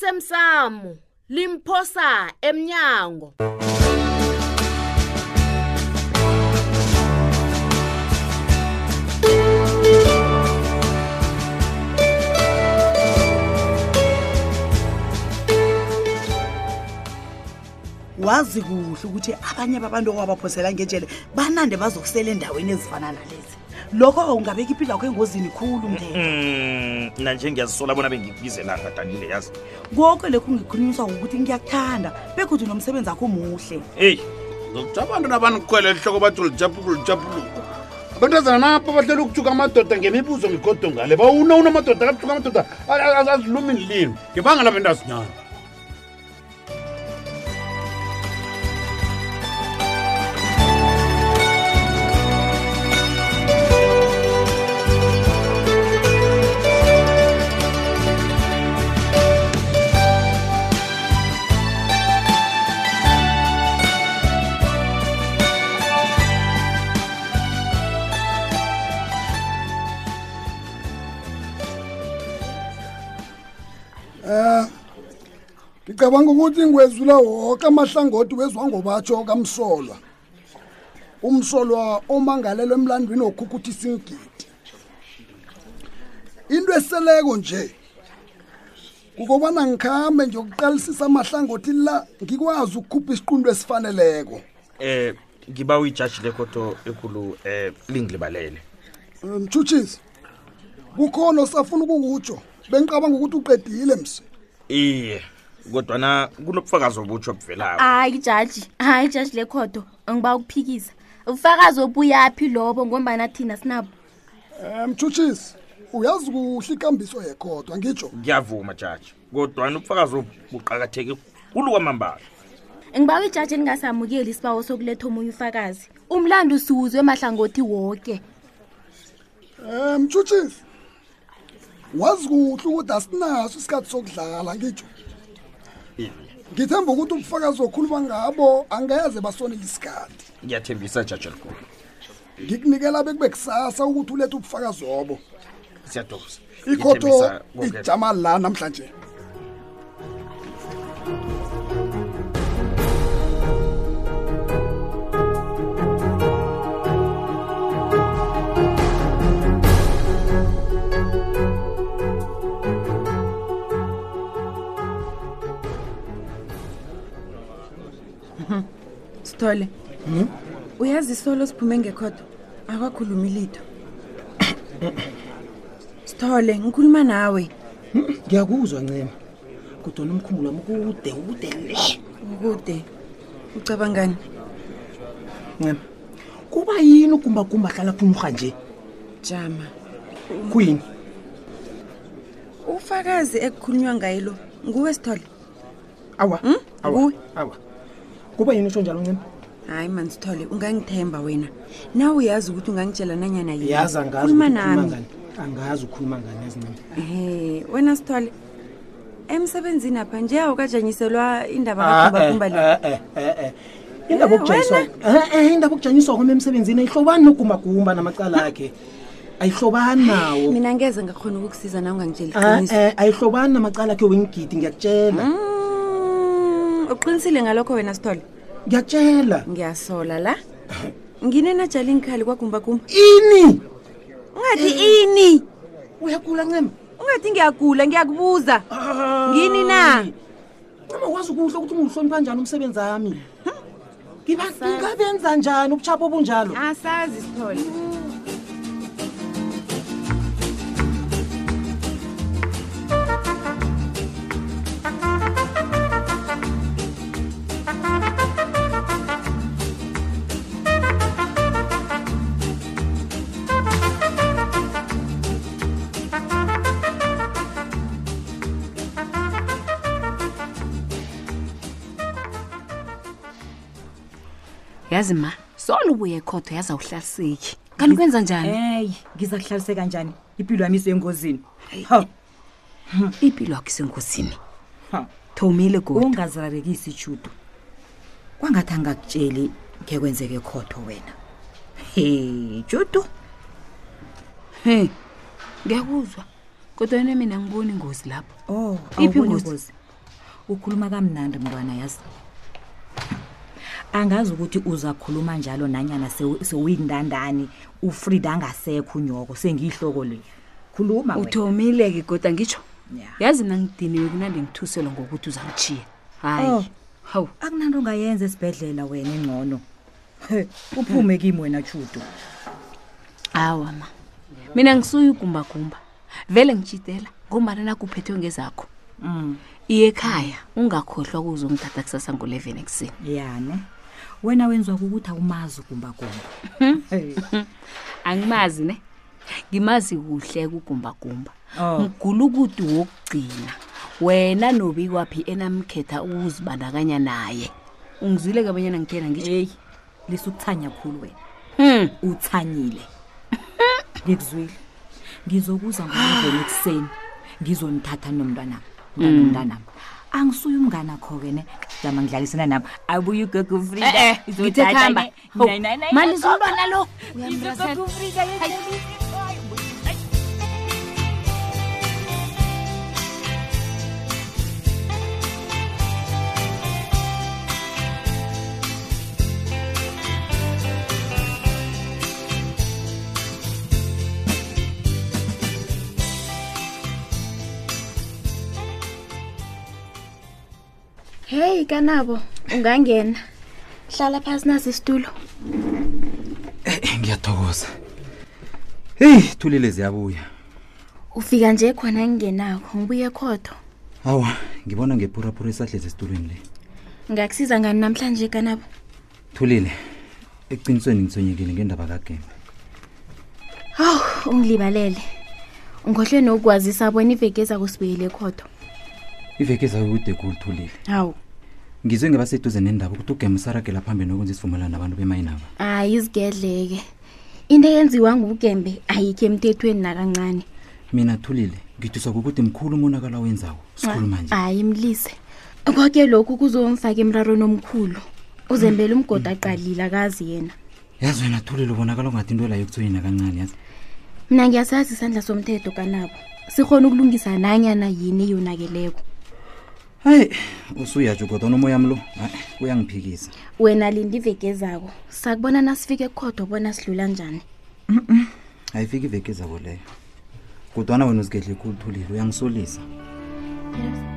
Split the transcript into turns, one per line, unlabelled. osemsamo limphosa emnyango
wazi kuhle ukuthi abanye babantu owabaphosela ngejele banande bazokusela endaweni ezifana nalezi lokho ungabeka impilo yakho engozini khulu mndeni
Mm, mna nje ngiyazisola bona bengikubizelanga danile yazi
konke lokhu ngikhulunyiswa ngokuthi ngiyakuthanda bekhudi nomsebenzi wakho muhle
eyi
Dokta abantu abanikhwela ehloko bathi ulijabhuluka ulijabhuluka. Abantazana napha bahlela ukujuka amadoda ngemibuzo ngigodo ngale. Bawuna unamadoda akabujuka amadoda a- a- a- azilumi nilimi. Ngebanga labentazinyana.
ngicabanga ukuthi ngwezula woke amahlangothi wezwangobatsho kamsolwa umsolwa omangalelwe emlandwini wokhukhuthi singidi into eseleko nje kukobana ngikhambe nje ukuqalisisa amahlangothi la ngikwazi ukukhupha isiqundo esifaneleko
um ngiba uyijaji lekoto ekulu um lingilibalele
Eh, mtshutshisi kukhona osafuna ukukutsho bengicabanga ukuthi uqedile msi
iye kodwana kunobufakazi obutsho obuvelayo
hayi jaji hayi jaji lekhodo ngiba ukuphikisa ufakazi obuyaphi lobo ngombana thina sinabo
um mtshutshisi uyazi kuhle ikambiso yekhodwa ngitsho
ngiyavuma jaji kodwana ubufakazi obu buqakatheke kulu kwamambala
ngiba ijaji elingasamukeli isibawo sokuletha omunye ufakazi umlando siwuzwe mahlangothi woke
Eh mtshutshisi wazi kuhle ukuthi asinaso isikhathi sokudlala ngitsho
iye
ngithemba ukuthi ubufakazi okhuluma ngabo angeze basonele isikhathi
ngiyathembisa jaji elikulu
ngikunikela bekube kusasa ukuthi ulethe ubufakazi obo
siyadosa
ikhotho
Ngithembisa konke.
ijama la namhlanje
sithole
Hmm?
uyazi isolo siphume ngekhodo akwakhulumi litho sithole ngikhuluma nawe
ngiyakuzwa ncema kodwana umkhumbulo wami kude ukude le
ukude ucabangani
ncema kuba yini ugumbagumba ahlala phumurha nje
jama
kuyini
ufakazi ekukhulunywa ngaye lo nguwe sithole
awa
Mm,
awa,
kuwe.
awa kuba yini utsho njalo ncema
hayi mani sithole ungangithemba wena nawe uyazi ukuthi ungangitshela nanyana yini.
yazi angazi
Khuluma
ukuthi ukhuluma
nami.
ngani angazi ukhuluma ngani yazi ncema
Ehhe, wena sithole emsebenzini apha nje awukajanyiselwa indaba
Ah, eh,
kagumbagumba le
eh, eh, eh, eh. indaba
Eh,
okujanyiswa indaba okujanyiswa kwami emsebenzini ayihlobani nogumbagumba namacala akhe ayihlobani nawo
mina ngeze ngakhona ukukusiza na ungangitsheli
Ah,
iqiniso Hmm?
eh, ayihlobani namacala akhe wengigidi ngiyakutshela
Mm, uqinisile ngalokho wena sithole
ngiyakutshela
Hmm. ngiyasola la nginenajala ingikhali kwagumbagumba
ini
ungathi
Eh.
ini
uyagula ncema
ungathi ngiyagula ngiyakubuza Ngini na?
Uma wazi kuhle ukuthi ungihlonipha njani umsebenzi wami.
Hmm?
Ngiba- Ngingabenza njani ubuchapo obunjalo?
asazi sithole
yazi ma solo ubuye ekhotho yaza uhlaliseki kanti kwenza njani
eyi ngiza kuhlaliseka njani impilo yami isengozini ha
impilo yakho isengozini
ha
thomile godu
ungazirarekisi judo kwangathi angakutsheli ngekwenzeke khotho wena he judo he
ngiyakuzwa
kodwa yena mina ngiboni ingozi lapho
Oh,
Iphi
awuboni
ingozi?
ingozi? Ukhuluma kamnandi mntwana yazi. Angazi ukuthi uzakhuluma njalo nanyana sewu- sewuyindandani, uFrida angasekho unyoko, sengiyihloko le. Khuluma wena.
uthomile-ke kodwa ngitsho
Yeah.
yazi mina ngidiniwe kunandi ngithuselwa ngokuthi uzangitshiya
Oh.
hayi hawu
akunanto ongayenza esibhedlela wena engcono He, uphume kimi wena tshudo
awa ma mina ngisuye ugumbagumba vele ngitshitela ngombana nakuphethwe ngezakho
Mm,
iye ekhaya ungakhohlwa kuzo ngithatha kusasa ngo-11 ekuseni
yane wena wenziwa kukuthi awumazi ugumbagumba Hey.
angimazi ne ngimazi kuhle kugumbagumba
Oh.
mgulukudu wokugcina wena nobikwaphi enamkhetha ukuzibandakanya naye ungizwile kabanyana ngithena ngitsho
eyi lisukuthanya khulu wena
Hmm,
uthanyile ngikuzwile ngizokuza
Ah.
ngomveni ekuseni ngizonithatha nomntwana
Mm.
mntanam angisuye umngana kho-ke ne jama ngidlalisana nabo abuye ugogo
eh,
frida
eh, ngithe khamba Hawu, malisa umntwana lo Uyamrasela.
heyi kanabo ungangena hlala phasi nasi isitulo
ngiyathokoza heyi thulile ziyabuya
ufika nje khona engingenakho ngibuye khotho
awa ngibona ngepurapura esahlezi esitulweni le
ngakusiza ngani namhlanje kanabo
thulile ekuqinisweni ngithonyekile ngendaba kagembe
hawu ungilibalele ungikhohlwe nokukwazisa bona iveki ezakusibuyele khotho
iveke zakude kulu thulile
hawu
ngizwe ngebaseduze nendaba ukuthi ugembe usaragela phambili nokwenza isivumelwano nabantu bemayinaba
hayi izigedleke into eyenziwa ngugembe ayikho emthethweni nakancane
mina thulile ngiduswa kukuthi mkhulu umonakalo awenzako
Ah.
sikhuluma nje
hayi mlise koke lokhu kuzongifaka emrarweni omkhulu uzembele umgoda aqalile akazi yena
yazi wena thulile ubonakala ungathi into layo kuthonyina kancane yazi
mina ngiyasazi isandla somthetho kanabo sikhona ukulungisa nanyana yini eyonakeleko
hayi usuyatsho kodwa nomoya mlo hayi uyangiphikisa
wena linda iveke ezako sakubona nasifike ekhodwa bona sidlula njani
ayifiki iveki ezako leyo kodwana wena uzigedle khulu thulile uyangisolisa
yes.